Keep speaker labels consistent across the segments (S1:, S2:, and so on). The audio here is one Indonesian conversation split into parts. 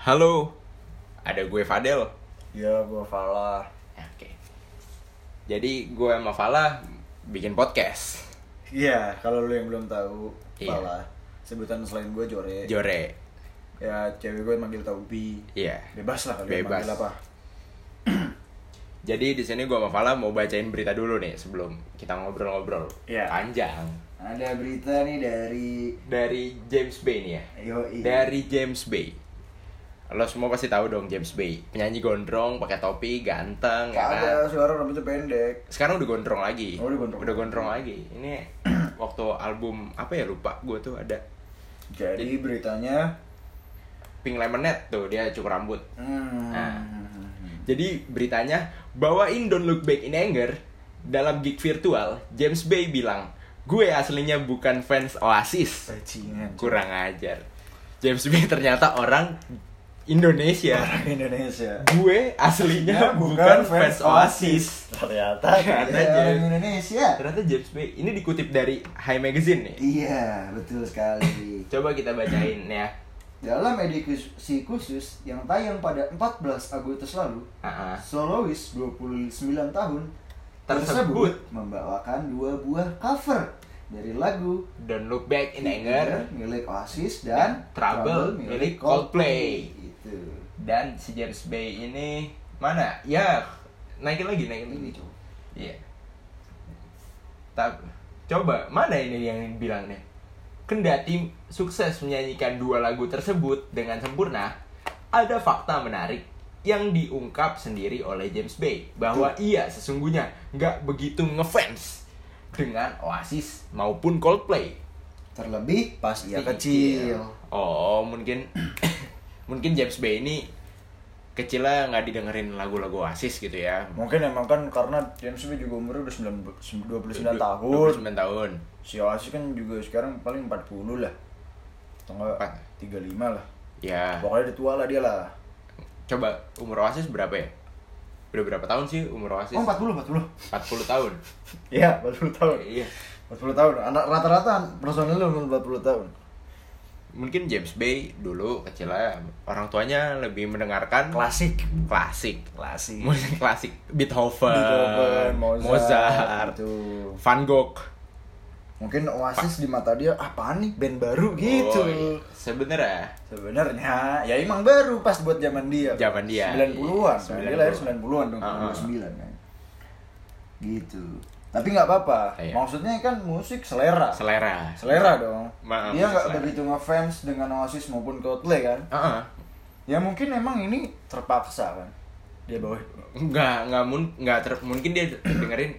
S1: Halo, ada gue Fadel.
S2: Ya, gua Falah.
S1: Oke. Jadi gue sama Fala bikin podcast.
S2: Iya, kalau lu yang belum tahu,
S1: Iya.
S2: Falah. Sebutan selain gua Jore.
S1: Jore.
S2: ya, cewek gua manggil Taubi.
S1: Iya.
S2: Bebas lah kalian
S1: Bebas.
S2: manggil apa.
S1: Jadi di sini gue sama Fala mau bacain berita dulu nih sebelum kita ngobrol-ngobrol.
S2: Iya.
S1: Panjang.
S2: Ada berita nih dari
S1: Dari James Bay nih ya.
S2: Yoi.
S1: Dari James Bay. Lo semua pasti tahu dong James Bay. Penyanyi gondrong, pakai topi, ganteng, ya kan?
S2: Ada suara rambutnya pendek.
S1: sekarang udah gondrong lagi
S2: Oh, udah gondrong.
S1: udah gondrong lagi ini waktu album apa ya lupa gue tuh ada
S2: Jadi beritanya
S1: Pink Lemonade tuh dia cukur rambut
S2: hmm.
S1: Nah. jadi beritanya bawain Don't Look Back in Anger dalam gig virtual James Bay bilang gue aslinya bukan fans Oasis
S2: Bajingan.
S1: kurang ajar James Bay ternyata orang Indonesia
S2: Orang Indonesia.
S1: gue aslinya Ya, bukan fans Oasis
S2: Ternyata
S1: Ternyata
S2: dia
S1: dia-
S2: orang Indonesia.
S1: ternyata James Bay ini dikutip dari High Magazine nih
S2: Iya, betul sekali.
S1: coba kita bacain ya
S2: Dalam edisi khusus yang tayang pada 14 Agustus lalu,
S1: Ah, ah.
S2: Solois 29 tahun
S1: Tersebut.
S2: membawakan dua buah cover dari lagu
S1: Don't Look Back in Anger Eh,
S2: milik Oasis dan
S1: Trouble milik Coldplay.
S2: Itu.
S1: dan si James Bay ini mana? Ya, naikin lagi, naikin lagi.
S2: Ini coba.
S1: Iya. Ta- coba mana ini yang bilang nih? Kendati sukses menyanyikan dua lagu tersebut dengan sempurna, ada fakta menarik yang diungkap sendiri oleh James Bay bahwa ia sesungguhnya nggak begitu ngefans dengan Oasis maupun Coldplay.
S2: Terlebih pas ia
S1: Iya,
S2: kecil.
S1: Oh, mungkin mungkin James Bay ini kecilnya nggak didengerin lagu-lagu Oasis gitu ya.
S2: Mungkin emang kan karena James Bay juga umurnya udah 29 tahun.
S1: 29 tahun.
S2: Si Oasis kan juga sekarang paling 40 lah. Atau enggak
S1: Empat.
S2: 35 lah.
S1: Ya,
S2: Pokoknya udah tua lah dia lah.
S1: coba umur Oasis berapa ya? Udah berapa tahun sih umur Oasis?
S2: Oh 40, 40.
S1: 40 tahun.
S2: Iya, 40 tahun.
S1: Iya.
S2: 40 tahun. Anak rata-rata personil umur 40 tahun.
S1: Mungkin James Bay dulu kecilnya orang tuanya lebih mendengarkan
S2: Klasik.
S1: klasik.
S2: Klasik.
S1: Musik klasik Beethoven,
S2: Beethoven, Mozart,
S1: Mozart,
S2: gitu.
S1: Van Gogh.
S2: Mungkin Oasis di mata dia apaan nih band baru gitu.
S1: Oh, iya. Sebenarnya
S2: Sebenarnya ya emang baru pas buat zaman dia.
S1: Zaman dia,
S2: 90-an.
S1: iya,
S2: Kan? Dia lahir
S1: 90-an.
S2: 90-an dong,
S1: Ah, ah.
S2: 99 kan. Gitu. Tapi nggak apa-apa.
S1: Iya.
S2: Maksudnya kan musik selera.
S1: selera.
S2: Selera dong.
S1: Maaf,
S2: dia nggak
S1: selera.
S2: begitu ngefans dengan Oasis maupun Coldplay kan.
S1: Heeh.
S2: Ya mungkin emang ini terpaksa kan. Dia bawa
S1: nggak nggak mun nggak ter- mungkin dia dengerin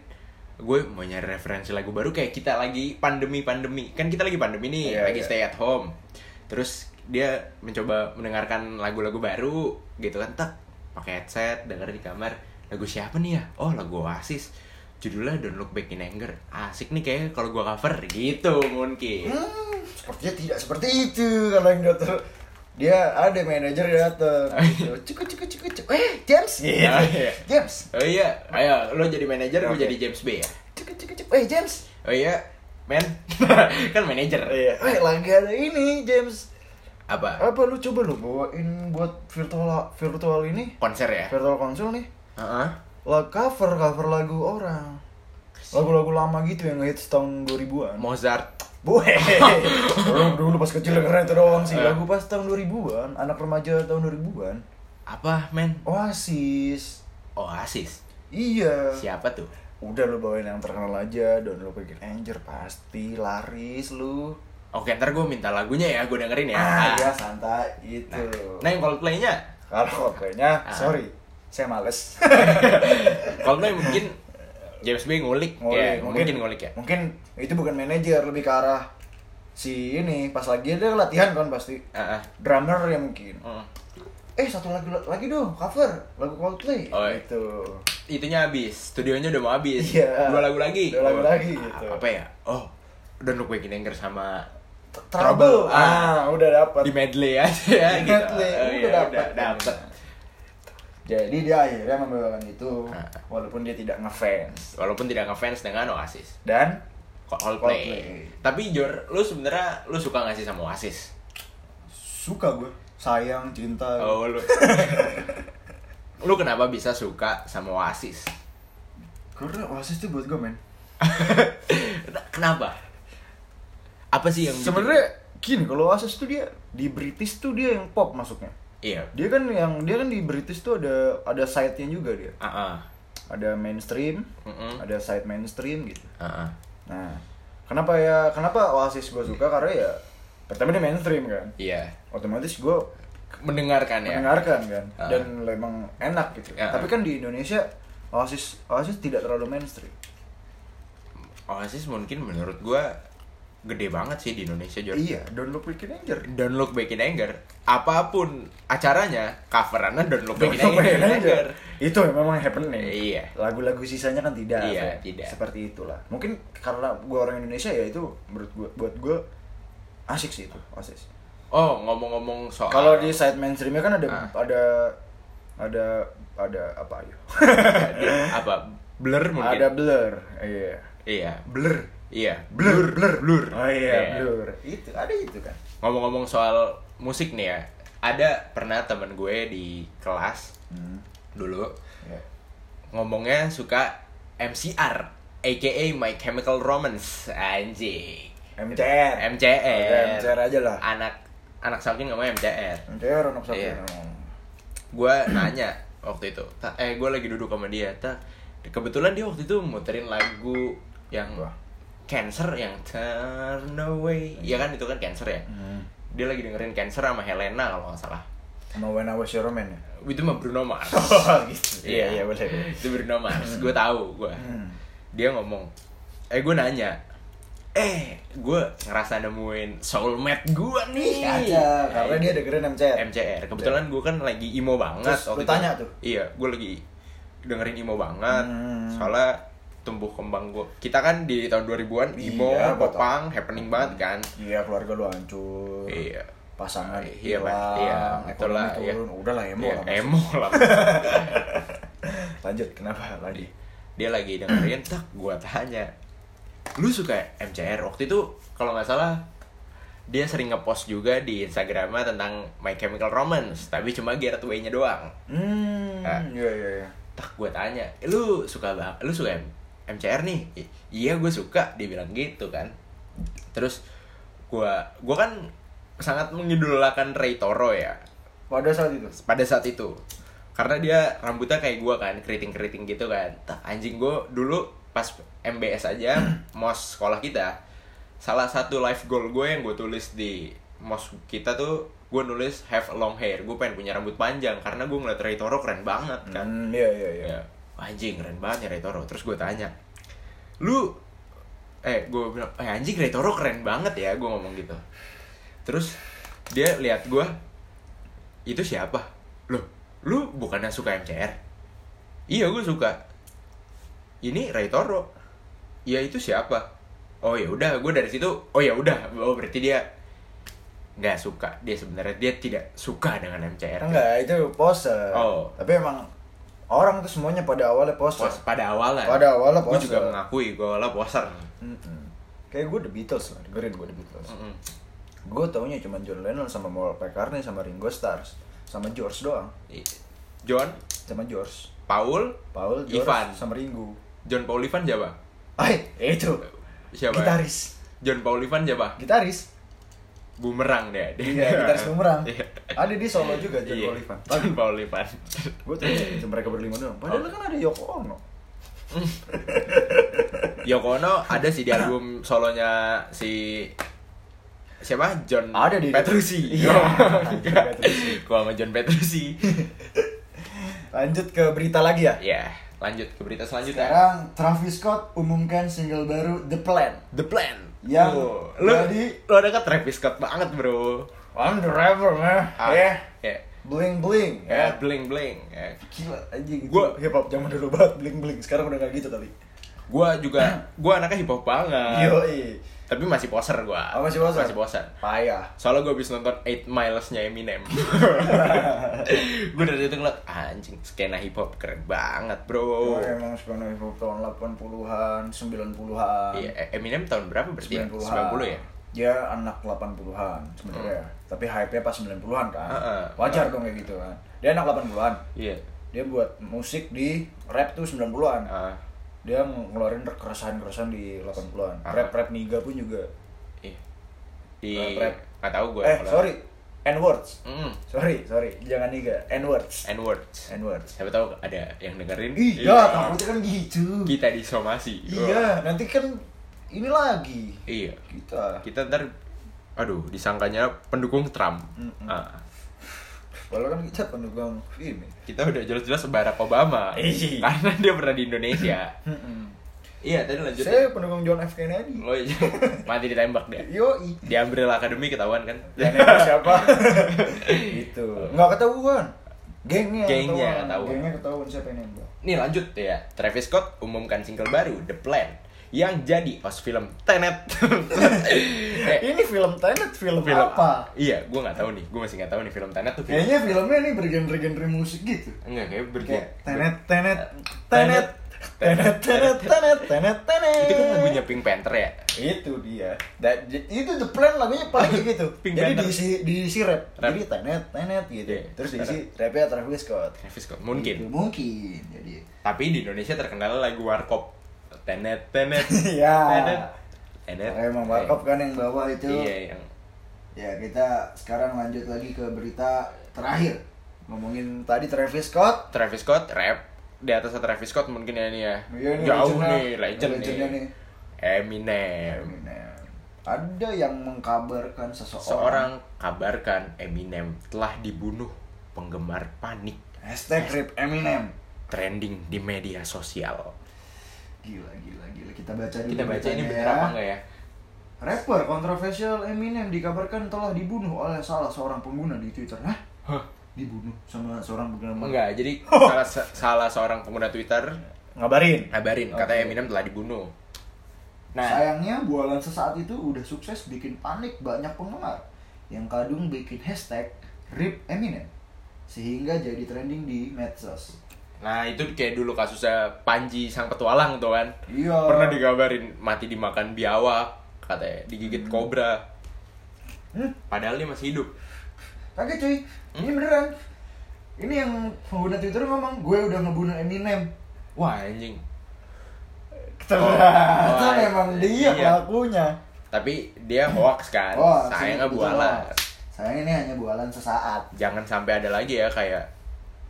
S1: gue mau nyari referensi lagu baru kayak kita lagi pandemi pandemi kan kita lagi pandemi nih
S2: Iya,
S1: lagi
S2: iya.
S1: stay at home terus dia mencoba mendengarkan lagu-lagu baru gitu kan tak pakai headset dengerin di kamar lagu siapa nih ya oh lagu Oasis judulnya Don't Look Back in Anger asik nih kayak kalau gue cover gitu mungkin
S2: Hmm, sepertinya tidak seperti itu kalau yang dokter dia ada manajer yang datang gitu. cukup cukup cukup cukup eh James gitu.
S1: iya. Ah, iya.
S2: James
S1: oh iya ayo lo jadi manajer gue
S2: Oke.
S1: jadi James B ya
S2: cukup cukup cukup eh James
S1: oh iya men kan manajer
S2: iya eh lagi ada ini James
S1: apa
S2: apa lu coba lu bawain buat virtual virtual ini
S1: konser ya
S2: virtual konsol nih
S1: Heeh.
S2: lah cover cover lagu orang lagu-lagu lama gitu yang ngehits tahun 2000-an
S1: Mozart
S2: Bohe. Orang dulu pas kecil dengerin itu doang sih.
S1: Iya.
S2: Lagu pas tahun 2000-an, anak remaja tahun 2000-an.
S1: apa men
S2: Oasis.
S1: Oasis
S2: Iya.
S1: siapa tuh
S2: Udah lu bawain yang terkenal aja, Don't Look Back in Anger pasti laris lu.
S1: oke ntar gue minta lagunya ya gue dengerin ya Ah.
S2: Ah, ya santai itu.
S1: nah Ah. yang Coldplay-nya
S2: Kalau kayaknya, sorry, saya males.
S1: Coldplay mungkin James Bay ngulik, ya, mungkin, ngulik ya
S2: Mungkin itu bukan manajer, lebih ke arah si ini pas lagi dia latihan kan pasti
S1: Heeh.
S2: drummer ya mungkin
S1: Heeh.
S2: eh satu lagu lagi dong cover lagu Coldplay
S1: Oh, iya.
S2: gitu
S1: itunya habis studionya udah mau habis
S2: Iya.
S1: dua lagu lagi
S2: Dua lagu
S1: Oh,
S2: lagi,
S1: a-
S2: gitu.
S1: apa ya oh Don't Look Back in Anger sama Trouble.
S2: Trouble ah udah dapat
S1: di medley aja ya
S2: Di
S1: gitu.
S2: medley,
S1: Oh,
S2: udah
S1: iya,
S2: dapet.
S1: dapet.
S2: jadi dia akhirnya membawakan itu
S1: Ah.
S2: walaupun dia tidak ngefans
S1: walaupun tidak ngefans dengan Oasis
S2: dan
S1: Coldplay.
S2: Coldplay.
S1: Tapi Jor, lu sebenarnya lu suka gak sih sama Oasis?
S2: suka gue sayang cinta
S1: Oh lu. lu kenapa bisa suka sama Oasis?
S2: karena Oasis tuh buat gue men
S1: kenapa? Apa sih yang bikin-
S2: sebenarnya gini kalau Oasis tuh dia di British tuh dia yang pop masuknya
S1: Iya.
S2: dia kan yang dia kan di British tuh ada ada side-nya juga dia
S1: Ah ah.
S2: ada mainstream
S1: Mm-mm.
S2: ada side mainstream gitu
S1: Ah, ah.
S2: nah kenapa ya kenapa Oasis gue suka karena ya pertama dia mainstream kan
S1: Iya.
S2: otomatis gue
S1: Mendengarkan ya.
S2: mendengarkan kan
S1: Ah.
S2: dan memang enak gitu
S1: Ya.
S2: tapi kan di Indonesia Oasis Oasis tidak terlalu mainstream
S1: Oasis mungkin menurut gua gede banget sih di Indonesia Jor.
S2: iya Don't Look Back in Anger
S1: Don't Look Back in Anger, apapun acaranya, coverannya Don't Look Back in
S2: Don't Look
S1: Anger.
S2: Back in Anger. itu memang happening
S1: Iya.
S2: lagu-lagu sisanya kan tidak
S1: Iya,
S2: Fe.
S1: tidak.
S2: seperti itulah mungkin karena gue orang Indonesia ya itu menurut gue buat gue asik sih itu Oasis
S1: Oh, ngomong-ngomong soal
S2: kalau di side mainstreamnya kan ada
S1: Ah.
S2: ada ada ada apa ya? ayo
S1: apa? Blur mungkin.
S2: ada blur iya
S1: Iya.
S2: blur
S1: Iya.
S2: blur blur blur oh
S1: Iya.
S2: iya blur itu ada itu kan
S1: Ngomong-ngomong soal musik nih ya, ada pernah temen gue di kelas
S2: hmm.
S1: dulu
S2: iya.
S1: ngomongnya suka MCR, aka My Chemical Romance, anjing.
S2: MCR Udah,
S1: MCR.
S2: MCR aja lah
S1: Anak anak saking namanya MCR.
S2: MCR anak satu
S1: Ah.
S2: Hmm.
S1: Iya. Gue nanya waktu itu, "Ta- eh gue lagi duduk sama dia, ta kebetulan dia waktu itu muterin lagu yang
S2: Wah.
S1: Cancer yang Turn Away, ya kan itu kan Cancer ya.
S2: Hmm.
S1: Dia lagi dengerin Cancer sama Helena kalau nggak salah.
S2: sama When I Was Your Man ya
S1: Itu mah Bruno Mars.
S2: oh gitu iya iya boleh
S1: Itu Bruno Mars, gue tahu gue.
S2: Hmm.
S1: Dia ngomong, eh gue nanya, eh gue ngerasa nemuin soulmate gue nih.
S2: ada karena dia dengerin MCR
S1: MCR.
S2: Iya.
S1: Kebetulan gue kan lagi emo banget.
S2: Terus
S1: waktu
S2: lu tanya
S1: itu.
S2: tuh?
S1: Iya, gue lagi dengerin emo banget.
S2: Hmm.
S1: Soalnya tumbuh kembang gue. Kita kan di tahun 2000-an emo,
S2: Iya, gua
S1: popang, happening banget kan.
S2: iya keluarga lu hancur
S1: Iya.
S2: pasangan
S1: Iya,
S2: hilang
S1: Pak. Iya, betul
S2: ekonomi
S1: lah, iya.
S2: turun Oh, udah lah emo
S1: Iya,
S2: lah Mas.
S1: emo lah.
S2: lanjut kenapa
S1: Iya.
S2: lagi
S1: Dia lagi dengerin, tak gue tanya. Lu suka MCR? Waktu itu kalau nggak salah dia sering ngepost juga di Instagramnya tentang My Chemical Romance, tapi cuma Gerard Way-nya doang.
S2: hmm
S1: Ah.
S2: iya iya iya
S1: tak gue tanya "Eh, lu suka bang lu suka M- MCR nih "I- iya gue suka dia bilang gitu kan terus gue gue kan sangat mengidolakan Ray Toro ya
S2: pada saat itu
S1: pada saat itu karena dia rambutnya kayak gue kan keriting keriting gitu kan tak anjing gue dulu pas MBS aja mos sekolah kita salah satu life goal gue yang gue tulis di mos kita tuh gue nulis have a long hair gue pengen punya rambut panjang karena gue ngeliat Ray Toro keren banget kan
S2: hmm iya iya iya
S1: ya anjing keren banget ya Ray Toro terus gue tanya lu eh gue bilang eh anjing Ray Toro keren banget ya gue ngomong gitu terus dia lihat gue itu siapa loh lu bukannya suka MCR iya gue suka ini Ray Toro ya itu siapa oh ya udah gue dari situ oh ya udah oh berarti dia nggak suka dia sebenarnya dia tidak suka dengan MCR
S2: enggak itu pose
S1: Oh.
S2: tapi emang orang tuh semuanya pada awalnya pose
S1: Pos- pada awalnya
S2: Pada awalnya
S1: gue
S2: poser.
S1: juga mengakui gue awalnya poser
S2: Mm-mm. kayak gue The Beatles lah dengerin gue The Beatles
S1: Mm-mm.
S2: gue taunya cuma John Lennon sama Paul McCartney sama Ringo Starr sama George doang
S1: I- John
S2: sama George
S1: Paul
S2: Paul George
S1: Ivan.
S2: sama Ringo
S1: John Paul Ivan siapa
S2: Ay, itu
S1: siapa
S2: gitaris
S1: John Paul Ivan siapa
S2: gitaris
S1: bumerang deh dia
S2: iya gitaris bumerang
S1: Iya.
S2: ada di solo juga John
S1: Iya.
S2: Paul Ivan
S1: John Paul Ivan
S2: gue tuh cuma mereka berlima doang padahal
S1: Oh.
S2: kan ada Yoko Ono
S1: Yoko Ono ada sih di album solonya si siapa John
S2: Ada di-
S1: Petrucci
S2: Iya.
S1: Gua-
S2: Petrucci.
S1: gua sama John Petrucci
S2: lanjut ke berita lagi ya
S1: ya lanjut ke berita selanjutnya
S2: sekarang Travis Scott umumkan single baru The Plan
S1: The Plan
S2: Yang
S1: Oh, lu
S2: jadi-
S1: lu ada kan Travis Scott banget bro
S2: I'm the rapper man
S1: Ah,
S2: ya
S1: ya.
S2: bling bling
S1: ya bling bling ya.
S2: gila anjing
S1: Gua-
S2: gua hip hop zaman dulu banget bling bling sekarang udah gak gitu kali
S1: gua juga gua anaknya hip hop banget
S2: yoi
S1: tapi masih poser gua
S2: Oh, masih
S1: Ah.
S2: poser?
S1: masih poser
S2: payah
S1: soalnya gua habis nonton 8 Miles nya Eminem gua dari situ ngeliat anjing skena hip hop keren banget bro
S2: Gua Oh, emang suka hip hop tahun 80-an, 90-an.
S1: Iya, E, Eminem tahun berapa berarti? ya?
S2: 90-an.
S1: 90 ya? Oh.
S2: dia anak 80-an sebenarnya. Tapi hype-nya pas 90-an kan.
S1: Heeh.
S2: Wajar dong kayak gitu kan. Dia anak 80-an.
S1: Iya.
S2: Dia buat musik di rap tuh 90-an.
S1: Ah,
S2: Dia ngeluarin keresahan-keresahan di 80-an.
S1: Heeh.
S2: Rap-rap niga pun juga.
S1: iya. Di
S2: Rap.
S1: nggak tahu gue.
S2: eh, sorry. N-words.
S1: Mm,
S2: Sorry, sorry. Jangan niga. N-words.
S1: N words.
S2: N-words.
S1: Siapa tahu ada yang dengerin.
S2: Iya, takutnya kan gitu.
S1: Kita disomasi.
S2: Iya, nanti kan ini lagi.
S1: Iya.
S2: Kita.
S1: Kita ntar, aduh, disangkanya pendukung Trump.
S2: Mm-mm.
S1: Ah,
S2: Walau kan kita pendukung ini.
S1: kita udah jelas-jelas Barack Obama.
S2: Iya.
S1: Karena dia pernah di Indonesia.
S2: Mm-mm. Oh,
S1: iya, tadi lanjut. Oh, iya.
S2: Saya pendukung John F. Kennedy.
S1: Lo aja. mati ditembak
S2: iya.
S1: dia.
S2: Yoi.
S1: Di Umbrella Academy ketahuan kan?
S2: Dan yang siapa? gitu. Nggak ketahuan. Gengnya
S1: Gengnya ketahuan.
S2: Gengnya ketahuan siapa yang nembak.
S1: Nih lanjut ya. Travis Scott umumkan single baru The Plan yang jadi os film Tenet. Eh,
S2: Ini film Tenet film,
S1: film
S2: apa?
S1: Iya, gue nggak tahu nih. Gue masih nggak tahu nih film Tenet tuh. Film.
S2: Kayaknya filmnya nih bergenre-genre musik gitu.
S1: Enggak kayak berarti. ya.
S2: Kayak Tenet, Tenet, Tenet, Tenet, Tenet, Tenet, Tenet, Tenet.
S1: Itu kan lagunya Pink Panther ya.
S2: itu dia That- itu the plan lagunya paling kayak gitu
S1: Pink
S2: jadi
S1: Panther.
S2: diisi diisi rap,
S1: Rap.
S2: jadi tenet tenet gitu
S1: Iya.
S2: terus diisi rapnya Travis Scott
S1: Travis Scott mungkin.
S2: Gitu, mungkin jadi
S1: Tapi di Indonesia terkenal lagu warkop. Tenet, Tenet.
S2: Iya.
S1: Tenet. Tenet.
S2: Karena emang Warkop kan yang bawa
S1: Eh,
S2: itu
S1: Iya, yang
S2: ya kita sekarang lanjut lagi ke berita terakhir ngomongin tadi Travis Scott
S1: Travis Scott rap di atas Travis Scott mungkin ya nih ya.
S2: Iya nih,
S1: Jauh
S2: legendnya.
S1: nih, legend
S2: Legendnya
S1: nih.
S2: nih.
S1: Eminem.
S2: Eminem. ada yang mengkabarkan seseorang
S1: Seorang kabarkan Eminem telah dibunuh penggemar panik
S2: hashtag rip Eminem
S1: trending di media sosial.
S2: gila gila gila kita baca dulu
S1: Kita baca ini
S2: beritanya
S1: bener
S2: ya.
S1: apa enggak ya?
S2: Rapper kontroversial Eminem dikabarkan telah dibunuh oleh salah seorang pengguna di Twitter. Hah?
S1: Hah?
S2: Dibunuh sama seorang pengguna?
S1: Enggak, jadi salah se- salah seorang pengguna Twitter
S2: Ngabarin.
S1: ngabarin kata
S2: Oke.
S1: Eminem telah dibunuh. Nah,
S2: Sayangnya bualan sesaat itu udah sukses bikin panik banyak penggemar yang kadung bikin hashtag RIP Eminem sehingga jadi trending di medsos.
S1: nah itu kayak dulu kasusnya Panji sang petualang tuh kan.
S2: Iya.
S1: Pernah digabarin mati dimakan biawak katanya, digigit kobra.
S2: Hmm,
S1: Padahal dia masih hidup.
S2: kaget cuy. Ini
S1: Hmm?
S2: beneran. Ini yang pengguna Twitter ngomong, gue udah ngebunuh Eminem.
S1: Wah, anjing.
S2: Ternyata
S1: Oh,
S2: memang dia
S1: iya.
S2: pelakunya.
S1: Tapi dia hoax kan.
S2: Oh,
S1: Sayangnya
S2: sini
S1: bualan.
S2: kebetulan. Sayangnya ini hanya bualan sesaat.
S1: Jangan sampai ada lagi ya kayak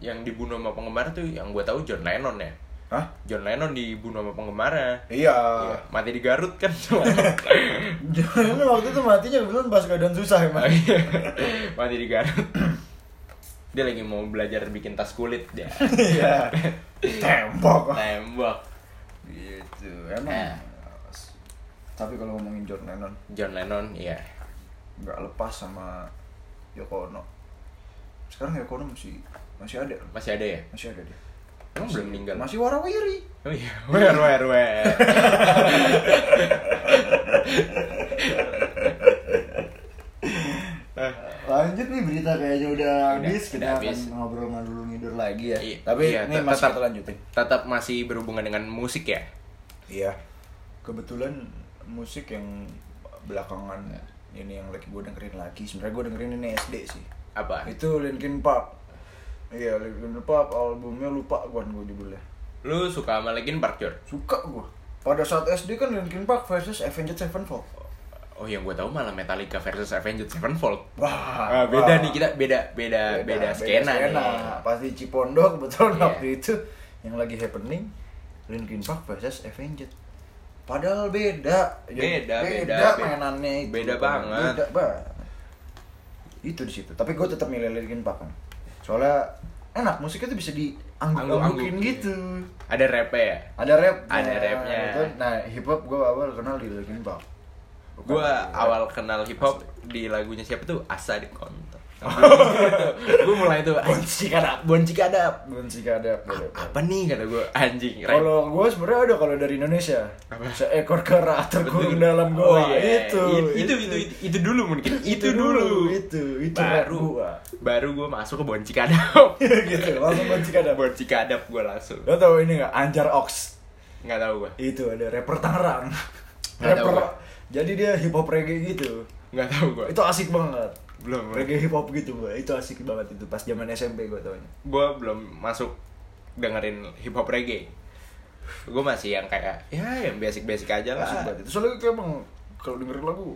S1: yang dibunuh sama penggemar tuh yang gue tahu John Lennon ya.
S2: Hah?
S1: John Lennon dibunuh sama penggemarnya.
S2: Iya.
S1: Iya, mati di Garut kan cuma.
S2: Jangan Iya. waktu itu matinya kebetulan pas keadaan susah emang.
S1: mati di Garut. Dia lagi mau belajar bikin tas kulit dia.
S2: Iya. Tembok.
S1: Tembok.
S2: Gitu. Emang.
S1: Eh.
S2: Tapi kalau ngomongin John Lennon,
S1: John Lennon, iya.
S2: nggak lepas sama Yoko Ono. Sekarang Yoko Ono masih masih ada,
S1: Masih ada ya?
S2: masih ada dia.
S1: Emang belum meninggal?
S2: Masih warawiri.
S1: Oh iya, wer wer wer.
S2: Lanjut nih berita kayaknya udah habis
S1: udah
S2: kita
S1: habis.
S2: akan ngobrol ngalur ngidur lagi ya.
S1: Iya,
S2: Tapi
S1: iya,
S2: ini
S1: te-
S2: masih
S1: tetap-
S2: kita lanjutin.
S1: Tetap masih berhubungan dengan musik ya?
S2: Iya. Kebetulan musik yang belakangan ini yang lagi gue dengerin lagi. Sebenarnya gue dengerin ini SD sih.
S1: Apa?
S2: Itu Linkin Park. Iya, Linkin Park albumnya lupa gue gue judulnya.
S1: Lu suka sama Linkin Park, Jor?
S2: Suka gue. Pada saat SD kan Linkin Park versus Avenged Sevenfold.
S1: Oh, yang gue tahu malah Metallica versus Avenged Sevenfold.
S2: Wah,
S1: Ah, beda
S2: wah.
S1: nih kita beda beda beda, skena, nih.
S2: Pasti Cipondo kebetulan
S1: Iya.
S2: waktu itu yang lagi happening Linkin Park versus Avenged. Padahal beda. ya.
S1: Beda, beda,
S2: beda,
S1: be-
S2: mainannya itu.
S1: beda banget.
S2: Beda banget. Itu di situ. Tapi gue tetap milih Linkin Park kan. Soalnya enak musiknya tuh bisa diangguk-anggukin
S1: Angguk-angguk,
S2: gitu.
S1: Ada rap ya?
S2: Ada rap.
S1: Ada rapnya.
S2: Nah, hip hop gue awal kenal di Linkin Park. Bukan
S1: Gue
S2: di-
S1: awal kenal hip hop di lagunya siapa tuh? Asa di kontak. gue mulai tuh bonci kadap, bonci kadap.
S2: Bukan jika ada
S1: Apa nih kata gue anjing. rap.
S2: Kalau gue sebenarnya ada kalau dari Indonesia. Seekor kera terkurung dalam
S1: Oh,
S2: goa.
S1: iya.
S2: itu,
S1: It- itu, itu, itu, itu dulu mungkin. Itu, dulu.
S2: Itu, itu
S1: baru
S2: baru. Gua.
S1: baru gue masuk ke Bon Cikadap.
S2: gitu, langsung kunci ada.
S1: Bon Cikadap gue langsung.
S2: Lo tau ini nggak? Anjar Ox.
S1: Nggak tahu gue.
S2: Itu ada rapper Tangerang.
S1: Nggak tahu
S2: rapper
S1: gua.
S2: Jadi dia hip hop reggae gitu.
S1: nggak tahu gue
S2: Itu asik banget.
S1: belum
S2: Reggae hip hop gitu gue. Itu asik banget itu pas zaman SMP gue taunya.
S1: gue belum masuk dengerin hip hop reggae gue masih yang kayak ya yang basic basic aja lah
S2: Asik banget Nah, itu. Soalnya kayak emang kalau dengerin lagu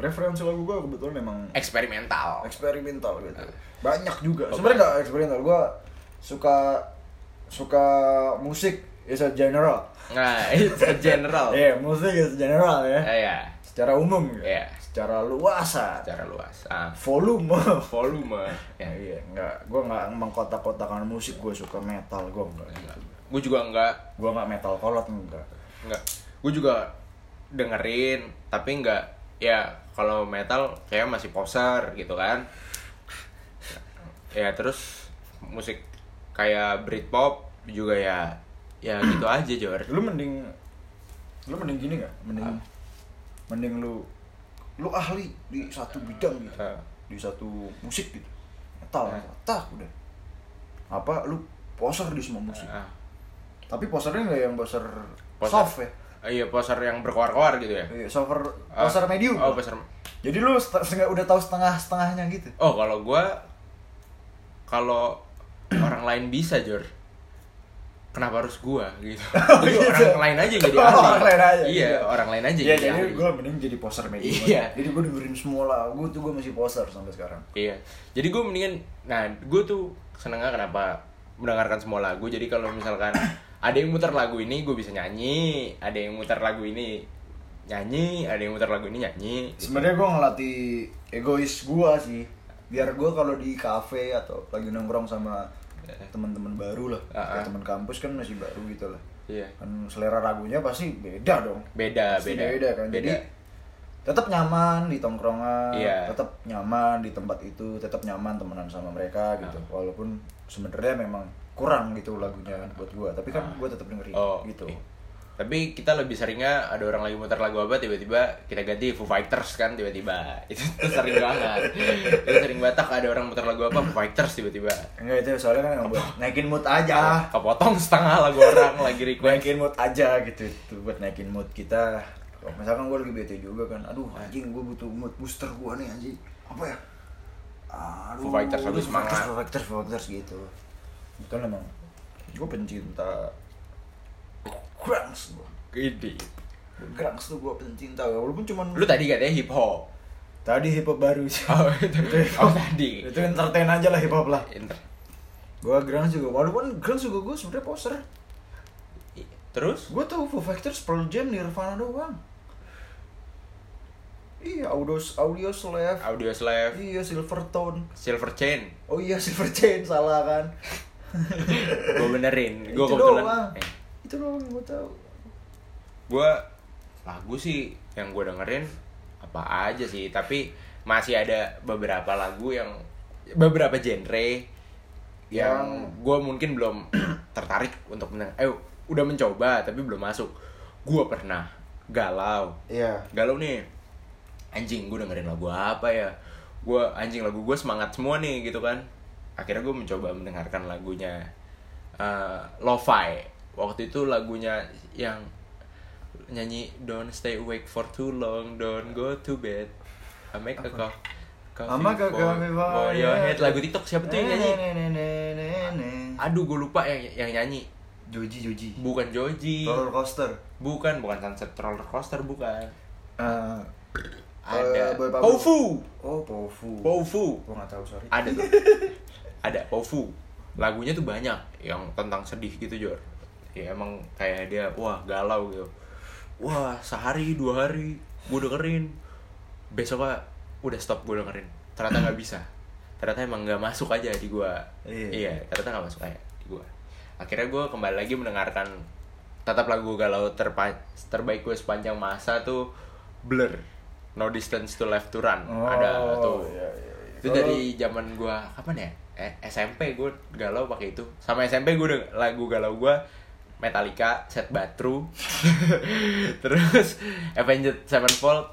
S2: referensi lagu gue kebetulan emang
S1: eksperimental
S2: eksperimental gitu.
S1: Iya.
S2: Banyak juga. Sebenarnya nggak eksperimental. Gue suka suka musik is a general.
S1: nah it's a general
S2: Iya, musik is general ya.
S1: ya ya
S2: Secara umum gitu.
S1: Iya.
S2: Secara luasa.
S1: secara luas ah
S2: Volume.
S1: volume ya.
S2: Ya, iya, enggak, gue nggak mengkotak-kotakan musik, gue suka metal, gue enggak
S1: Iya.
S2: gitu.
S1: gue juga nggak
S2: Gue nggak metal kolot, enggak
S1: nggak gue juga dengerin tapi nggak ya kalau metal kayak masih poser gitu kan ya terus musik kayak Britpop juga ya ya gitu aja Jor
S2: Lu mending, lu mending gini nggak? Mending, mending lu, lu ahli di satu bidang gitu
S1: Ah.
S2: Di satu musik gitu Metal,
S1: Iya.
S2: metal, tak udah Apa, lu poser di semua musik
S1: Ah.
S2: Tapi posernya nggak yang poser,
S1: Poser.
S2: soft ya?
S1: Ah, iya poser yang berkoar-koar gitu ya
S2: Iya, sofer,
S1: Ah.
S2: poser medium
S1: oh poser
S2: Jadi lu setengah- udah tahu setengah-setengahnya gitu
S1: oh kalau gue kalau orang lain bisa Jor kenapa harus gue gitu jadi
S2: gitu.
S1: orang lain aja yang jadi
S2: Oh,
S1: ahli
S2: orang lain aja,
S1: iya
S2: gitu.
S1: orang lain aja yang
S2: Iya jadi
S1: ahli.
S2: gue mending jadi poser media.
S1: Iya.
S2: Jadi gue dengerin semua lagu tuh gue masih poser sampai sekarang.
S1: Iya. Jadi gue mendingan, nah gue tuh senengnya kenapa mendengarkan semua lagu. Jadi kalau misalkan ada yang muter lagu ini, gue bisa nyanyi. Ada yang muter lagu ini nyanyi, ada yang muter lagu ini nyanyi.
S2: Sebenarnya gue ngelatih egois gue sih. Biar gue kalau di kafe atau lagi nongkrong sama teman-teman baru lah,
S1: Eh. Ah, ah.
S2: kayak teman kampus kan masih baru gitu lah.
S1: Iya.
S2: Kan selera lagunya pasti beda dong.
S1: Beda,
S2: Pasti
S1: beda.
S2: beda kan. Jadi
S1: Beda.
S2: tetap nyaman di tongkrongan,
S1: Iya.
S2: tetap nyaman di tempat itu, tetap nyaman temenan sama mereka gitu.
S1: Ah.
S2: Walaupun sebenarnya memang kurang gitu lagunya buat gua, tapi kan gua tetap dengerin
S1: Oh,
S2: gitu.
S1: oke. Tapi kita lebih seringnya ada orang lagi muter lagu apa tiba-tiba kita ganti Foo Fighters kan tiba-tiba. Itu, itu sering banget. itu sering batak ada orang muter lagu apa Foo Fighters tiba-tiba.
S2: Enggak itu soalnya kan emang buat naikin mood
S1: Ah.
S2: aja.
S1: Kepotong setengah lagu orang lagi request.
S2: Naikin mood aja gitu. Itu buat naikin mood kita. Kalau misalkan gua lagi bete juga kan. Aduh, anjing gua butuh mood booster gua nih anjing. Apa ya? Aduh.
S1: Foo Fighters, aduh,
S2: Foo Fighters,
S1: semangat.
S2: Foo Fighters, Foo Fighters gitu. Itu emang gua pencinta grunge gua.
S1: Gede.
S2: Grunge tuh gua pencinta walaupun cuman
S1: Lu tadi katanya hip hop.
S2: tadi hip hop baru sih.
S1: Oh, itu. Oh, tadi.
S2: itu entertain aja lah hip hop lah.
S1: Inter.
S2: Gua grunge juga. Walaupun grunge juga gua sebenarnya poser.
S1: Terus?
S2: Gue tahu Foo Fighters, Pearl Jam, Nirvana doang. Iya, Audio Audio Slave.
S1: Audio Slave,
S2: Iya, Silvertone.
S1: Silver Chain.
S2: Oh iya, Silverchain salah kan.
S1: Gue benerin. Gue
S2: Itu
S1: kebetulan.
S2: doang.
S1: Eh,
S2: Itu doang yang gue tahu.
S1: Gue lagu sih yang gue dengerin apa aja sih, tapi masih ada beberapa lagu yang beberapa genre yang
S2: Yang-
S1: gue mungkin belum tertarik untuk mendengar. Eh, udah mencoba tapi belum masuk. Gue pernah galau.
S2: Iya.
S1: galau nih anjing gue dengerin lagu apa ya gue anjing lagu gue semangat semua nih gitu kan akhirnya gue mencoba mendengarkan lagunya eh, lo-fi waktu itu lagunya yang nyanyi don't stay awake for too long don't go to bed I make a call
S2: Sama
S1: coffee
S2: kakak
S1: for- for your head Eh, lagu TikTok siapa tuh yang nyanyi? Aduh gue lupa yang yang nyanyi
S2: Joji Joji.
S1: bukan Joji,
S2: Roller coaster.
S1: bukan bukan Sunset Roller Coaster bukan.
S2: Eh,
S1: Ah. Ada
S2: Boy Pablo.
S1: Pofu,
S2: Oh, Pofu.
S1: Pofu. Ah.
S2: Gue nggak tahu sorry.
S1: ada tuh ada Pofu lagunya tuh banyak yang tentang sedih gitu Jor ya emang kayak dia wah galau gitu wah sehari dua hari gue dengerin besoknya udah stop gue dengerin ternyata nggak bisa ternyata emang nggak masuk aja di gue
S2: Iya.
S1: ternyata nggak masuk aja di gue akhirnya gue kembali lagi mendengarkan tetap lagu galau terpa- terbaik gue sepanjang masa tuh blur no distance to left to run ada tuh
S2: iya, iya, iya.
S1: itu dari zaman gua kapan ya Eh, SMP gua galau pakai itu sama SMP gua udah lagu galau gua Metallica Set Batru terus Avenged Sevenfold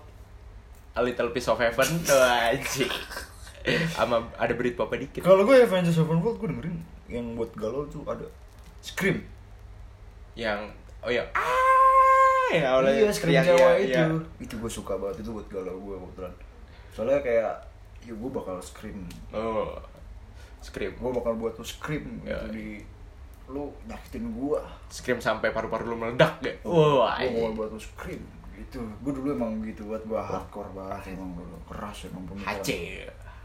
S1: A Little Piece of Heaven tuh anjing sama ada Britpop dikit
S2: Kalau gue Avengers Sevenfold gue dengerin yang buat galau tuh ada Scream.
S1: yang oh ya iya. ah ya oleh
S2: iya scream
S1: yang-
S2: Jawa
S1: iya, iya.
S2: itu itu gue suka banget itu buat galau gue kebetulan soalnya kayak ya gue bakal scream
S1: Oh. Scream.
S2: gue bakal buat lu scream
S1: Ya.
S2: gitu di lu nyakitin gue
S1: Scream sampai paru-paru lu meledak
S2: Iya.
S1: deh.
S2: Gua
S1: Wah,
S2: mau
S1: anjing.
S2: buat lu scream gitu gue dulu emang gitu buat gue hardcore banget emang dulu keras emang pemikiran
S1: HC.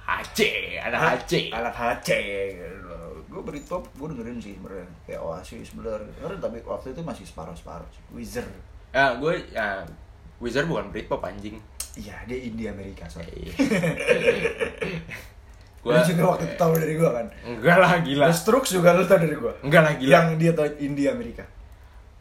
S1: HC, ada HC.
S2: anak HC gue gitu. beri top gue dengerin sih sebenarnya kayak Oasis bener dengerin tapi waktu itu masih separuh separuh Wizard
S1: Ya, gue ya Wizard bukan Britpop anjing.
S2: iya dia India Amerika sorry
S1: gue
S2: Lu juga waktu itu tahu dari gue kan
S1: enggak lah gila.
S2: The Strokes juga lu tau dari gue
S1: Enggak lah gila.
S2: yang dia tau India Amerika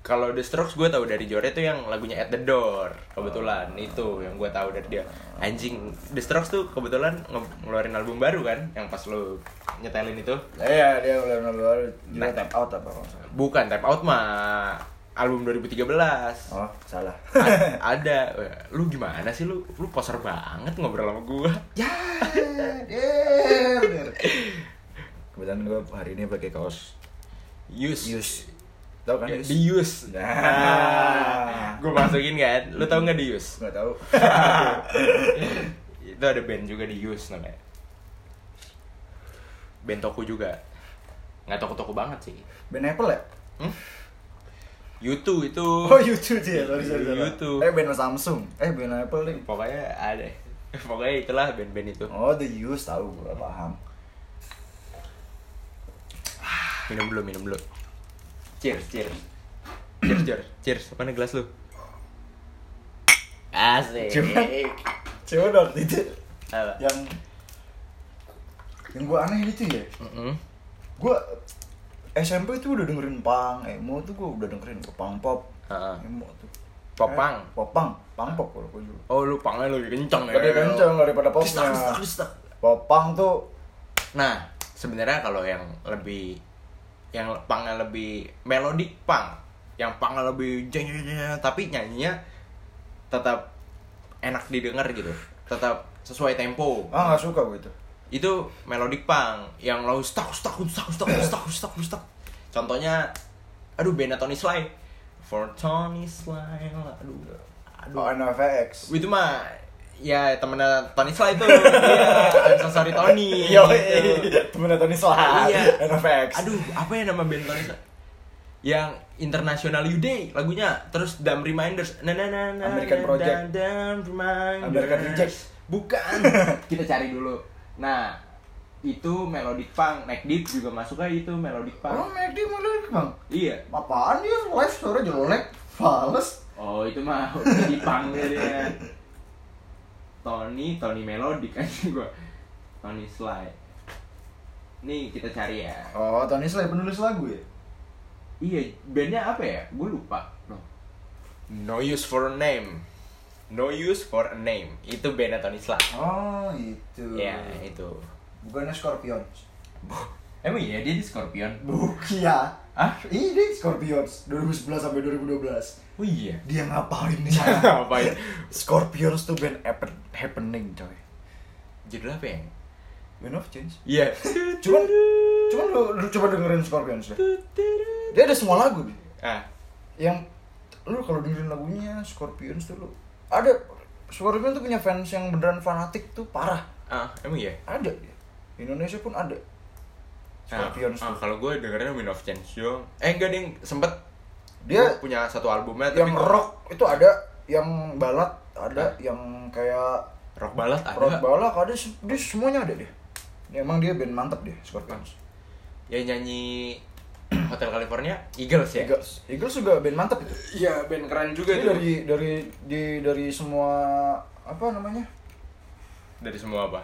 S1: Kalau The Strokes gue tahu dari Jore itu yang lagunya At the Door. Kebetulan
S2: Oh.
S1: itu yang gue tahu dari dia. Anjing, The Strokes tuh kebetulan nge- ngeluarin album baru kan yang pas lo nyetelin itu.
S2: Nah, iya dia mulai luar dia
S1: Nah.
S2: tap out apa kalau nggak salah.
S1: Bukan Time Out mah album 2013.
S2: oh salah
S1: A- ada Eh, lu gimana sih lu lu poser banget ngobrol sama gua
S2: ya ya bener. kebetulan gue hari ini pakai kaos
S1: use
S2: Yus tau kan
S1: Ya,
S2: Yus
S1: di use
S2: Nah.
S1: nah. gua masukin kan lu tau nggak di use
S2: nggak tahu
S1: itu ada band juga di use namanya band toko juga nggak toko toko banget sih
S2: Ben Apple ya
S1: hmm? YouTube itu
S2: Oh YouTube sih ya, sorry sorry. sorry.
S1: YouTube.
S2: Eh band Samsung, eh band Apple nih.
S1: pokoknya ada pokoknya itulah band-band itu
S2: Oh the use tahu gue paham.
S1: minum dulu minum dulu cheers cheers cheers cheers cheers mana gelas lu asik
S2: Cuman, cuman waktu itu
S1: apa
S2: yang yang gue aneh itu ya.
S1: Mm-mm.
S2: Gue SMP tuh udah dengerin pang, emo tuh gue udah dengerin pang pop,
S1: Heeh.
S2: emo tuh.
S1: Popang.
S2: Eh, popang, pang pop kalau gue dulu.
S1: oh lu pangnya lebih kenceng ya
S2: Lebih kenceng daripada popnya.
S1: Kristal, kristal, kristal.
S2: Popang tuh
S1: nah sebenarnya kalau yang lebih yang pangnya lebih melodik pang yang pangnya lebih jeng jeng jeng, jeng, tapi nyanyinya tetap enak didengar gitu tetap sesuai tempo
S2: ah nggak suka gue itu.
S1: itu melodic punk yang lalu stuck stuck stuck stuck stuck stuck stuck contohnya aduh bandnya Tony Sly for Tony Sly aduh
S2: Oh
S1: aduh
S2: NFX.
S1: itu mah ya temennya Tony Sly itu iya I'm so sorry Tony
S2: Yo,
S1: gitu.
S2: temen Tony Slahat,
S1: Iya.
S2: NFX.
S1: aduh apa ya nama band Tony Sly yang International You Day lagunya terus Dumb Reminders na na na na
S2: American
S1: na,
S2: Project.
S1: na, Dumb Reminders
S2: American Reject.
S1: bukan kita cari dulu nah itu melodic punk Mac Deep juga masuknya itu melodic
S2: Emang
S1: punk
S2: Medi malu bang?
S1: iya
S2: Apaan dia live suara jelek, fals.
S1: oh itu mah di punk dia Tony Tony melodic kan gua Tony Sly nih kita cari ya
S2: Oh, Tony Sly penulis lagu ya?
S1: Iya, bandnya apa ya? Gue lupa. No. use for a name. No use for a name. Itu bandnya Tony Sly.
S2: Oh, itu.
S1: Iya, itu.
S2: Bukannya Scorpion.
S1: Emang iya dia di Scorpion?
S2: Bukia.
S1: Hah?
S2: Iya, dia Scorpions 2011 sampai
S1: Oh
S2: 2012.
S1: iya.
S2: Dia ngapain nih?
S1: Ngapain?
S2: Scorpions tuh band happen- happening, coy.
S1: Judul apa ya?
S2: Band of Change.
S1: Iya.
S2: Cuman cuman lu, lu coba dengerin Scorpions deh. Dia ada semua lagu. Bi.
S1: Ah,
S2: yang lu kalau dengerin lagunya Scorpions tuh lu ada Scorpions tuh punya fans yang beneran fanatik tuh parah
S1: ah, emang iya.
S2: ada dia Indonesia pun ada
S1: Ah,
S2: Scorpions
S1: ah,
S2: tuh
S1: kalau gue dengerin Wind of Change dong. Eh enggak ding, sempet
S2: Dia
S1: gua punya satu albumnya Oh, tapi
S2: yang
S1: gua-
S2: rock itu ada yang balat ada yang kayak
S1: rock ballad ada.
S2: rock
S1: nggak?
S2: balak ada se- dia semuanya ada deh Dia- emang dia band mantep deh Scorpions
S1: Yang nyanyi Hotel California Eagles ya.
S2: Eagles Eagles juga band mantep itu
S1: Iya, band keren juga
S2: Dia
S1: tuh.
S2: dari dari di dari semua apa namanya
S1: dari semua apa?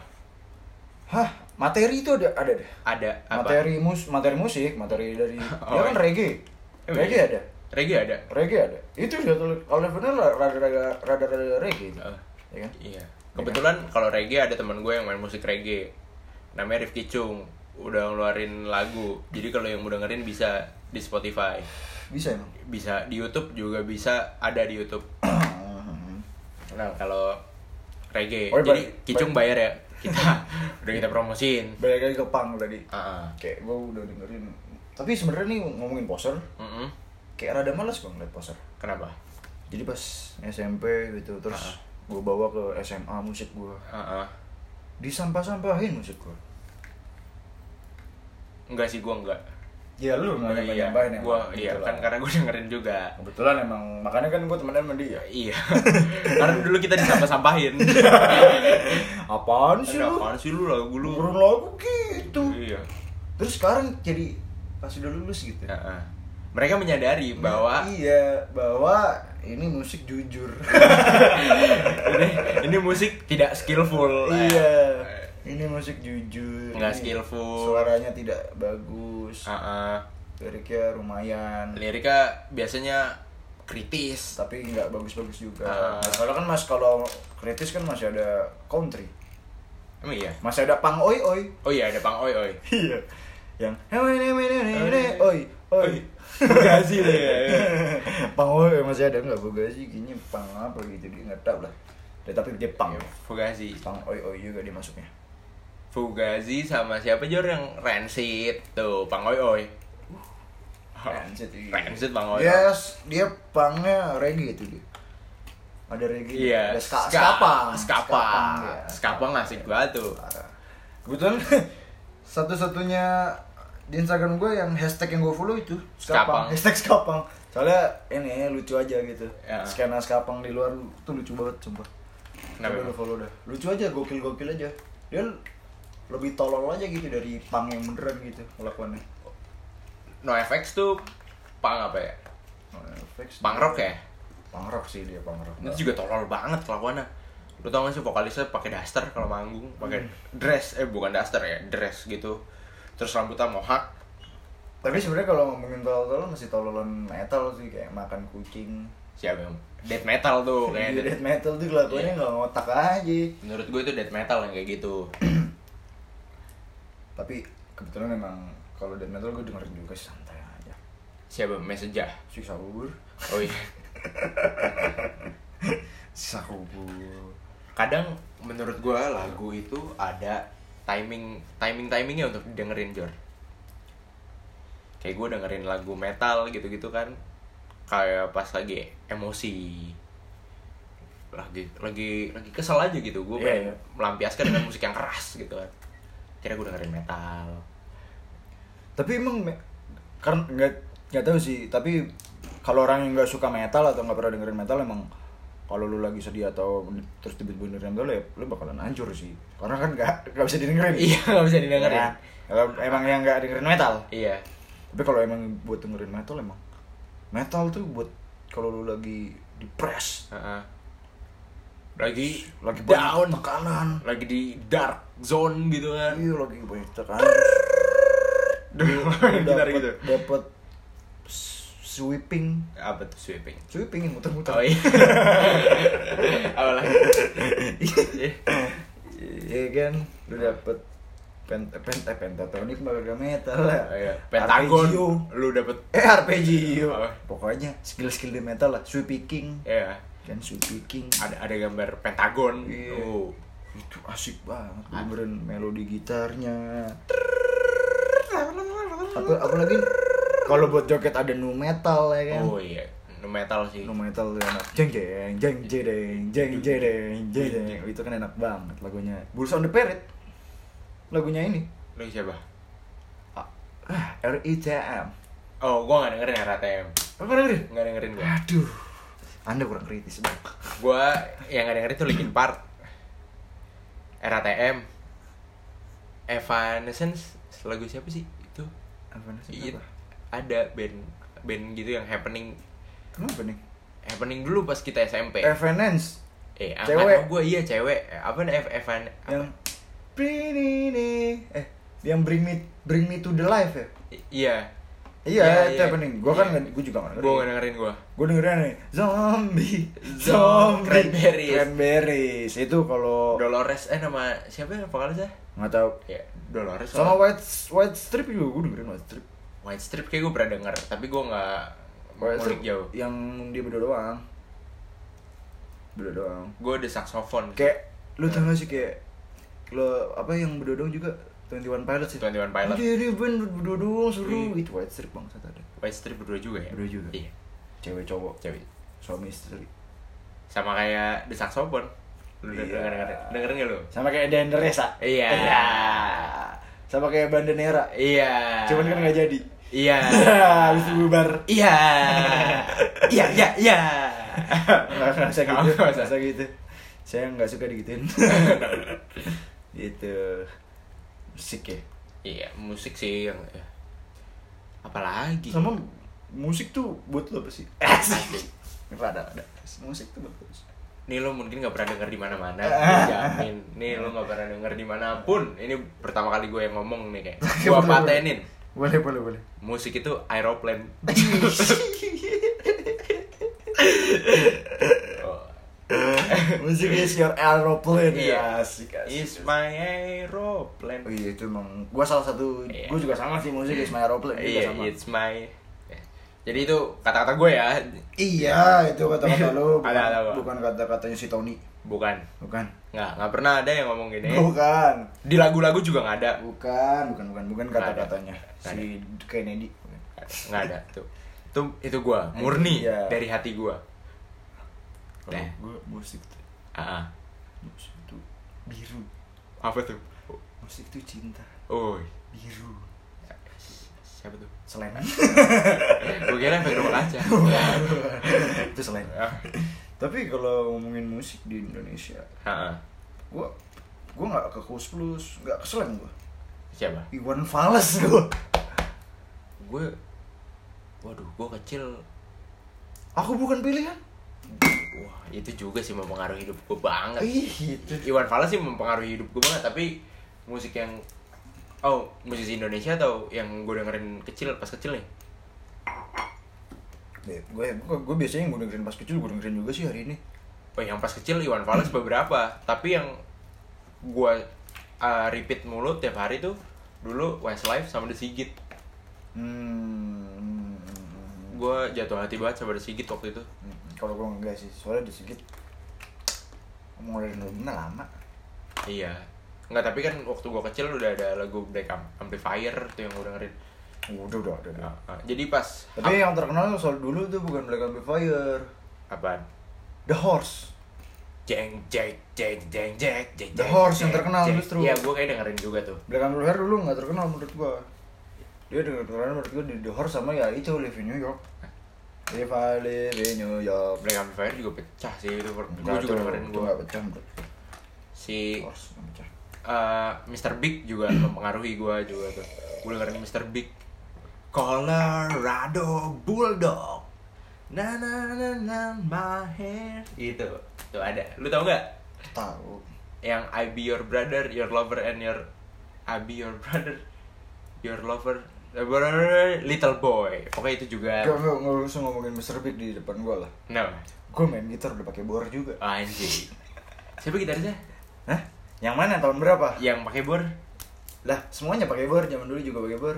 S2: hah materi itu ada ada deh
S1: Ada apa?
S2: materi mus materi musik materi dari
S1: Oh,
S2: dia kan
S1: iya.
S2: reggae
S1: Oh,
S2: reggae
S1: iya.
S2: ada
S1: Reggae ada.
S2: reggae ada itu dia tuh kalau bener lah, rada rada rada rada reggae itu
S1: Ah.
S2: ya kan
S1: Iya. Kebetulan kalau reggae ada teman gue yang main musik reggae. Namanya Rifki Chung. Udah ngeluarin lagu. Jadi kalau yang mau dengerin bisa di Spotify.
S2: bisa emang
S1: Bisa di YouTube juga bisa ada di YouTube. Nah, kalau reggae.
S2: Oh,
S1: Jadi
S2: balik-
S1: Kicung bayar ya. Kita udah kita promosiin.
S2: balik lagi ke pang tadi
S1: Heeh.
S2: kayak gue udah dengerin tapi sebenarnya nih ngomongin poser
S1: Mm-mm.
S2: kayak rada males gue ngeliat poser
S1: Kenapa?
S2: jadi pas SMP gitu terus
S1: Ah.
S2: gue bawa ke SMA musik gue
S1: Heeh.
S2: disampah-sampahin musik gue
S1: Enggak sih gua enggak.
S2: ya lu nggak
S1: iya,
S2: nyampahin emang.
S1: gua iya
S2: Gitu
S1: kan
S2: lah.
S1: karena gua dengerin juga.
S2: kebetulan emang makanya kan gue temenan sama dia
S1: Iya. karena dulu kita disampah-sampahin.
S2: apaan sih
S1: Ada
S2: lu
S1: apaan sih lu lagu lu?
S2: Turun lagu gitu
S1: Iya.
S2: terus sekarang jadi pas udah lulus gitu
S1: Heeh. Mereka menyadari bahwa
S2: iya bahwa ini musik jujur Iya.
S1: ini, ini musik tidak skillful.
S2: iya ini musik jujur
S1: Nggak
S2: Ini
S1: skillful. Ah.
S2: suaranya tidak bagus
S1: Heeh.
S2: liriknya lumayan
S1: Liriknya biasanya kritis.
S2: tapi nggak bagus-bagus juga
S1: Ah.
S2: Nah, soalnya kan mas kalau kritis kan masih ada country
S1: Emang iya.
S2: masih ada pang oi oi
S1: Oh iya ada Bang Oi Oi.
S2: iya yang "Ewe, ewe, ewe, ewe, oi oi
S1: Eh. Bugasi ya. deh.
S2: pang oi masih ada nggak bugasi gini pang apa gitu dia nggak tahu lah Dia- tapi dia pang
S1: Iya, Fugazi.
S2: pang oi oi juga dia masuknya
S1: Fugazi sama siapa Jor yang Rancid tuh Bang Oi Oi.
S2: Rancid, iya.
S1: Rancid Bang Oi. Oi.
S2: yes dia pangnya reggae itu dia ada reggae
S1: Iya,
S2: ada ska,
S1: ska-
S2: ska punk.
S1: ska
S2: Ska punk,
S1: punk.
S2: iya.
S1: Ska punk asik banget tuh.
S2: Parah. Kebetulan satu-satunya di Instagram gue yang hashtag yang gue follow itu
S1: Skapang.
S2: skapang. Hashtag skapang. Soalnya ini lucu aja gitu.
S1: Ya.
S2: Skena skapang di luar tuh lucu banget coba.
S1: Kenapa emang?
S2: Coba lu follow dah. Lucu aja, gokil-gokil aja. Dia lebih tolol aja gitu dari pang yang beneran gitu kelakuannya.
S1: No FX tuh pang apa ya?
S2: Oh, Fix.
S1: Pang rock ya?
S2: Pang rock sih dia pang rock.
S1: Itu juga tolol banget kelakuannya. Lu tau gak sih vokalisnya pakai daster kalau manggung, pakai
S2: Hmm.
S1: dress, eh bukan daster ya, dress gitu. Terus rambutnya mohak.
S2: Tapi sebenarnya kalau ngomongin tolol-tolol masih tololan metal sih kayak makan kucing.
S1: Siapa yang death metal tuh
S2: Iya,
S1: kayaknya.
S2: death metal tuh kelakuannya
S1: Iya.
S2: nggak ngotak aja.
S1: Menurut gue itu death metal yang kayak gitu.
S2: tapi kebetulan memang kalau death metal gue dengerin juga sih, santai aja
S1: Siapa? Messenger.
S2: sisa kubur
S1: Oh iya.
S2: sisa kubur
S1: Kadang menurut gue lagu itu ada timing timing timingnya untuk dengerin Jor. Kayak gue dengerin lagu metal gitu-gitu kan. Kayak pas lagi emosi. Lagi lagi lagi kesel aja gitu gue
S2: Iya,
S1: pengen
S2: iya.
S1: melampiaskan dengan musik yang keras gitu kan. Kira gue dengerin metal.
S2: tapi emang me- karena nggak nggak tahu sih tapi kalau orang yang nggak suka metal atau nggak pernah dengerin metal emang kalau lu lagi sedih atau terus tiba-tiba dengerin metal ya lu bakalan hancur sih karena kan nggak nggak bisa didengerin
S1: Iya, nggak bisa didengerin.
S2: Ya, kalau emang yang nggak dengerin metal
S1: Iya.
S2: tapi kalau emang buat dengerin metal emang metal tuh buat kalau lu lagi depres
S1: Heeh. Lagi
S2: lagi
S1: down,
S2: banyak tekanan
S1: lagi di dark zone gitu kan.
S2: Iya lagi banyak tekanan.
S1: Dengan gitar gitu.
S2: Dapat sweeping,
S1: Apa tuh sweeping?
S2: sweeping yang muter-muter.
S1: Oh iya. Apa lagi?
S2: Iya kan, lu
S1: Nah.
S2: dapat pen pen eh, pentatonik mah kagak metal lah.
S1: Oh, iya. Pentagon.
S2: Arpeggio.
S1: Lu dapet
S2: Eh arpeggio.
S1: Oh.
S2: Pokoknya skill-skill di metal lah, sweep picking.
S1: ya
S2: Kan sweep picking.
S1: ada ada gambar pentagon.
S2: Iya.
S1: Oh.
S2: Itu asik banget. Dengerin melodi gitarnya. Apa apalagi kalau buat joget ada nu metal ya kan.
S1: Oh iya. Nu metal sih.
S2: nu metal tuh enak jeng jeng jeng jedeng jeng jedeng jeng jedeng. itu kan enak banget lagunya Bulls on the Parade lagunya ini Ah,
S1: Lu siapa?
S2: R I T M
S1: Oh, gua nggak dengerin RATM.
S2: apa dengerin
S1: Nggak dengerin gua.
S2: aduh anda kurang kritis bang
S1: Gua yang nggak dengerin tuh Linkin Park. RATM. Evanescence lagu siapa sih itu?
S2: apa
S1: Iya,
S2: nasib apa
S1: ada band band gitu yang happening
S2: kenapa nih
S1: happening dulu pas kita SMP.
S2: Evanance
S1: eh,
S2: cewek.
S1: gue iya cewek. Eh, Apa nih F Evan? apa?
S2: yang Bring me- eh yang bring me bring me to the life ya
S1: I- Iya.
S2: iya
S1: Iya,
S2: itu
S1: iya.
S2: happening gue kan
S1: Iya.
S2: gue juga nggak
S1: Gue gak
S2: dengerin
S1: dengerin gue.
S2: gue dengerin nih zombie
S1: Zom-
S2: zombie
S1: Cranberries.
S2: cranberries itu kalau
S1: Dolores eh nama siapa yang vokalisnya?
S2: nggak tahu
S1: Ya, Dolores.
S2: Sama
S1: White,
S2: White White Strip juga gue dengerin White Strip.
S1: White Strip kayak gue pernah denger, tapi gue gak
S2: White Strip
S1: ngulik jauh.
S2: yang dia berdua doang. Berdua doang.
S1: Gue ada saksofon.
S2: Kayak lu tau gak sih kayak lo apa yang berdua doang juga 21 Pilots ya?
S1: 21 Pilots.
S2: Iya, dia band berdua doang seru
S1: Iya.
S2: itu White Strip bangsat ada.
S1: White Strip berdua juga ya?
S2: Berdua juga.
S1: Iya.
S2: Cewek cowok.
S1: Cewek.
S2: suami istri
S1: Sama kayak The Saxophone. Lu udah
S2: Iya.
S1: denger Dengerin nggak lu?
S2: sama kayak Dander Resa
S1: Iya.
S2: sama kayak Bandanera
S1: Iya.
S2: cuman kan nggak jadi
S1: Iya.
S2: habis bubar
S1: Iya. Iya, iya, iya.
S2: nggak nggak usah gitu
S1: Nggak
S2: nggak
S1: usah.
S2: usah gitu saya nggak suka digituin gitu musik ya
S1: Iya, musik sih yang ya. apalagi.
S2: sama musik tuh buat lo apa sih ada ada musik tuh buat lo apa sih?
S1: Nih lo mungkin gak pernah denger di mana-mana, jamin. Nih lo gak pernah denger dimanapun. Ini pertama kali gue yang ngomong nih kayak. Gue
S2: Boleh,
S1: patenin.
S2: boleh boleh boleh
S1: Musik itu aeroplane. Oh,
S2: musik is your aeroplane
S1: Iya.
S2: ya asik asik
S1: Is my aeroplane.
S2: Oh iya itu emang gua salah satu
S1: Iya.
S2: gua juga sama sih musik is my aeroplane gua juga
S1: Iya,
S2: sama
S1: it's my. eh. Jadi itu kata-kata gue ya,
S2: iya itu kata-kata lo bukan,
S1: Ada, ada, Bang.
S2: bukan kata-katanya si Tony
S1: bukan.
S2: bukan
S1: Nggak, nggak pernah ada yang ngomong gini.
S2: bukan
S1: Di lagu-lagu juga nggak ada.
S2: bukan bukan bukan bukan
S1: Nggak ada.
S2: kata-katanya
S1: Nggak
S2: si Kennedy Bukan.
S1: Nggak ada tuh. Itu itu gue, murni
S2: Iya.
S1: dari hati gue.
S2: Kalau
S1: Nah.
S2: gua musik tuh
S1: Ah,
S2: musik tuh biru
S1: apa tuh?
S2: musik tuh cinta
S1: Oh,
S2: biru
S1: siapa tuh?
S2: selain
S1: gue kira Ah, efek rumah kaca.
S2: itu selain tapi kalau ngomongin musik di Indonesia
S1: Ah, ah.
S2: gua gua nggak ke Kus Plus nggak ke slang gua
S1: siapa?
S2: Iwan Fals gua
S1: Gue, waduh, gue kecil.
S2: aku bukan pilihan
S1: Wah, itu juga sih mempengaruhi hidup gue banget.
S2: ih itu
S1: Iwan Fals sih mempengaruhi hidup gue banget tapi musik yang oh musisi Indonesia atau yang gue dengerin kecil pas kecil nih
S2: gue gue biasanya yang gue dengerin pas kecil gue dengerin juga sih hari ini
S1: oh yang pas kecil Iwan Fals beberapa tapi yang gue uh, repeat mulu tiap hari tuh dulu Westlife sama The Sigit
S2: hmm
S1: gue jatuh hati banget sama The Sigit waktu itu
S2: hmm. kalau gue enggak sih soalnya sedikit ngomong dari lagunya lama
S1: iya Enggak, tapi kan waktu gue kecil udah ada lagu Black Am- Amplifier tuh yang gue dengerin
S2: udah udah udah, udah.
S1: Ah, ah. jadi pas
S2: tapi yang terkenal soal dulu tuh bukan Black Amplifier
S1: apaan
S2: The Horse
S1: Jeng jeng jeng jeng jeng jeng
S2: The
S1: jeng,
S2: Horse yang
S1: jeng,
S2: terkenal
S1: jeng.
S2: justru.
S1: Iya, gue kayak dengerin juga tuh.
S2: Black Amplifier dulu nggak terkenal menurut gue dia denger terkenal menurut gue di The Horse sama ya itu Live in New York If I Live in New York
S1: Black Amplifier juga pecah sih itu. Gue juga dengerin
S2: gue
S1: gue.
S2: gak pecah menurut gua.
S1: Si
S2: Horse nggak pecah
S1: eh, Mr. Big juga mempengaruhi gue juga tuh. Gue dengerin Mr. Big. Colorado Bulldog. Na na na na my hair. Itu. Tuh ada. Lu tau gak?
S2: tahu
S1: Yang I be your brother, your lover and your I be your brother, your lover, eh, little boy. Pokoknya itu juga.
S2: Gak, gak, gak usah ngomongin Mr. Big di depan gua lah
S1: No.
S2: Gua main gitar udah pakai bor juga
S1: Anjing. Siapa gitarisnya?
S2: Hah? Yang mana? Tahun berapa?
S1: Yang pakai bor?
S2: Lah, semuanya pakai bor, zaman dulu juga pakai bor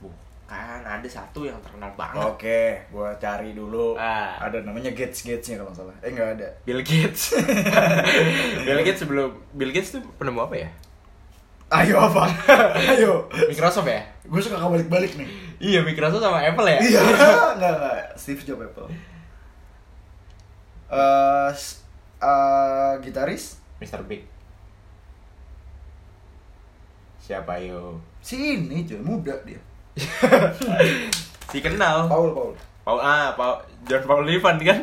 S1: Bukan, ada satu yang terkenal banget.
S2: Oke, gua cari dulu
S1: Ah.
S2: Ada namanya Gates-Gatesnya kalau nggak salah Eh, nggak ada
S1: Bill Gates. Bill Gates sebelum Bill Gates tuh penemu apa ya?
S2: Ayo apa? Ayo
S1: Microsoft ya?
S2: Gua suka kebalik-balik nih
S1: Iya, Microsoft sama Apple ya?
S2: Iya, nggak, nggak Steve Jobs Apple Eh, s- eh, Gitaris?
S1: Mr. Big. Siapa yo?
S2: Si ini cuy, muda dia
S1: Si kenal.
S2: Paul, Paul
S1: Paul ah, Paul John Paul Levan kan?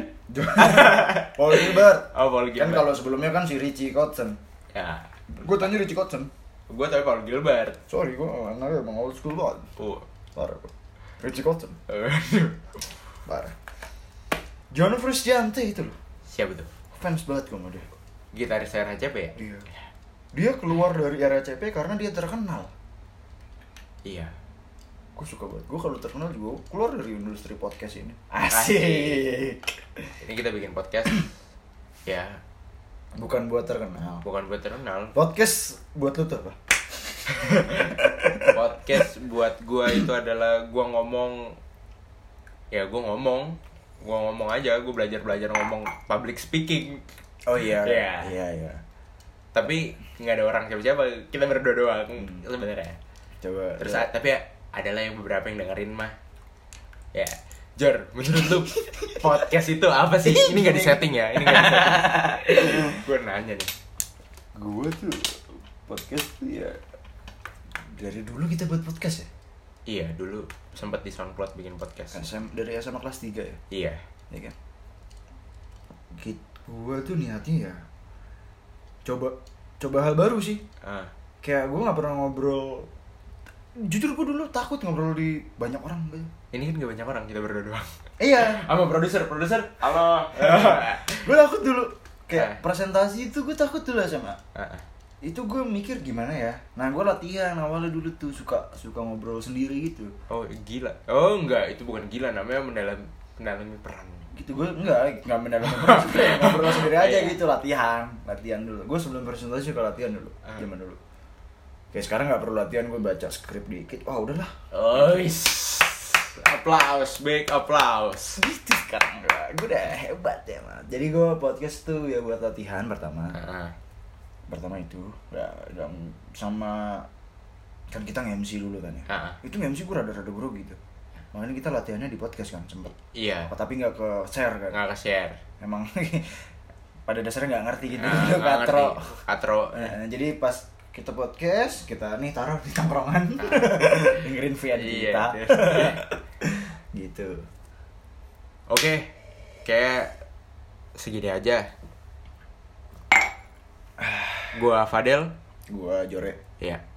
S2: Paul Gilbert
S1: Oh, Paul
S2: Kan
S1: Gilbert.
S2: kalau sebelumnya kan si Richie Kotzen
S1: ya.
S2: Gue tanya Richie Kotzen
S1: Gue tau Paul Gilbert.
S2: Sorry, gue anaknya emang old school banget
S1: Oh.
S2: Parah gue Richie Kotzen, parah John Frusciante itu loh
S1: Siapa tuh?
S2: Fans banget gue sama dia
S1: Gitaris RHCP ya?
S2: Dia Dia keluar dari RACP karena dia terkenal
S1: Iya.
S2: Gue suka banget, gue kalau terkenal juga gua keluar dari industri podcast ini
S1: Asik. Ini kita bikin podcast. ya,
S2: Bukan buat terkenal
S1: bukan buat terkenal.
S2: Podcast buat lu tuh apa?
S1: podcast buat gua itu adalah gua ngomong ya gua ngomong gua ngomong aja gua belajar belajar ngomong public speaking
S2: Oh iya
S1: Iya.
S2: Iya, iya
S1: tapi nggak ada orang siapa siapa kita berdua doang sebenarnya
S2: Coba Iya.
S1: terus a- tapi ya, adalah yang beberapa yang dengerin mah ya Jor, menurut lu podcast itu apa sih? Ini gak di setting ya? Ini gak di setting. Gue nanya nih.
S2: Gue tuh podcast tuh ya dari dulu kita buat podcast ya.
S1: Iya, dulu sempat di SoundCloud bikin podcast.
S2: SM, dari SMA kelas 3 ya.
S1: Iya.
S2: ya kan Git, gua tuh niatnya ya coba coba hal baru sih
S1: Ah,
S2: kayak gua nggak pernah ngobrol jujur gua dulu takut ngobrol di banyak orang gitu.
S1: ini kan gak banyak orang kita berdua doang.
S2: iya
S1: Sama produser, produser. Halo. Ah,
S2: gua takut dulu kayak
S1: Eh.
S2: presentasi itu gua takut dulu sama
S1: Ah, ah.
S2: itu gua mikir gimana ya nah gua latihan awalnya dulu tuh suka suka ngobrol sendiri gitu
S1: oh, gila. Oh, enggak, itu bukan gila namanya mendalam mendalami peran.
S2: gitu gue enggak enggak mendalami banget sih, kayak ngobrol sendiri aja
S1: Iya.
S2: gitu latihan latihan dulu gue sebelum presentasi suka latihan dulu
S1: Ah.
S2: zaman dulu kayak sekarang nggak perlu latihan gue baca skrip dikit wah udahlah
S1: Ois. Applause, big applause.
S2: gitu sekarang gue gue udah hebat ya man jadi gue podcast tuh ya buat latihan pertama
S1: Ah, ah.
S2: pertama itu ya, dan sama kan kita nge-MC dulu kan ya
S1: Ah.
S2: itu nge-MC gue rada-rada bro gitu makanya kita latihannya di podcast kan sempet
S1: Iya.
S2: tapi nggak ke share kan
S1: Nggak ke-share.
S2: emang pada dasarnya nggak ngerti gitu
S1: Ah,
S2: Katro.
S1: nggak ngerti. Katro.
S2: Nah, jadi pas kita podcast, kita nih taruh di tongkrongan. Dengerin via
S1: Iya.
S2: kita. gitu.
S1: Oke, kayak segini aja. Gua Fadel,
S2: Gua Jore.
S1: ya.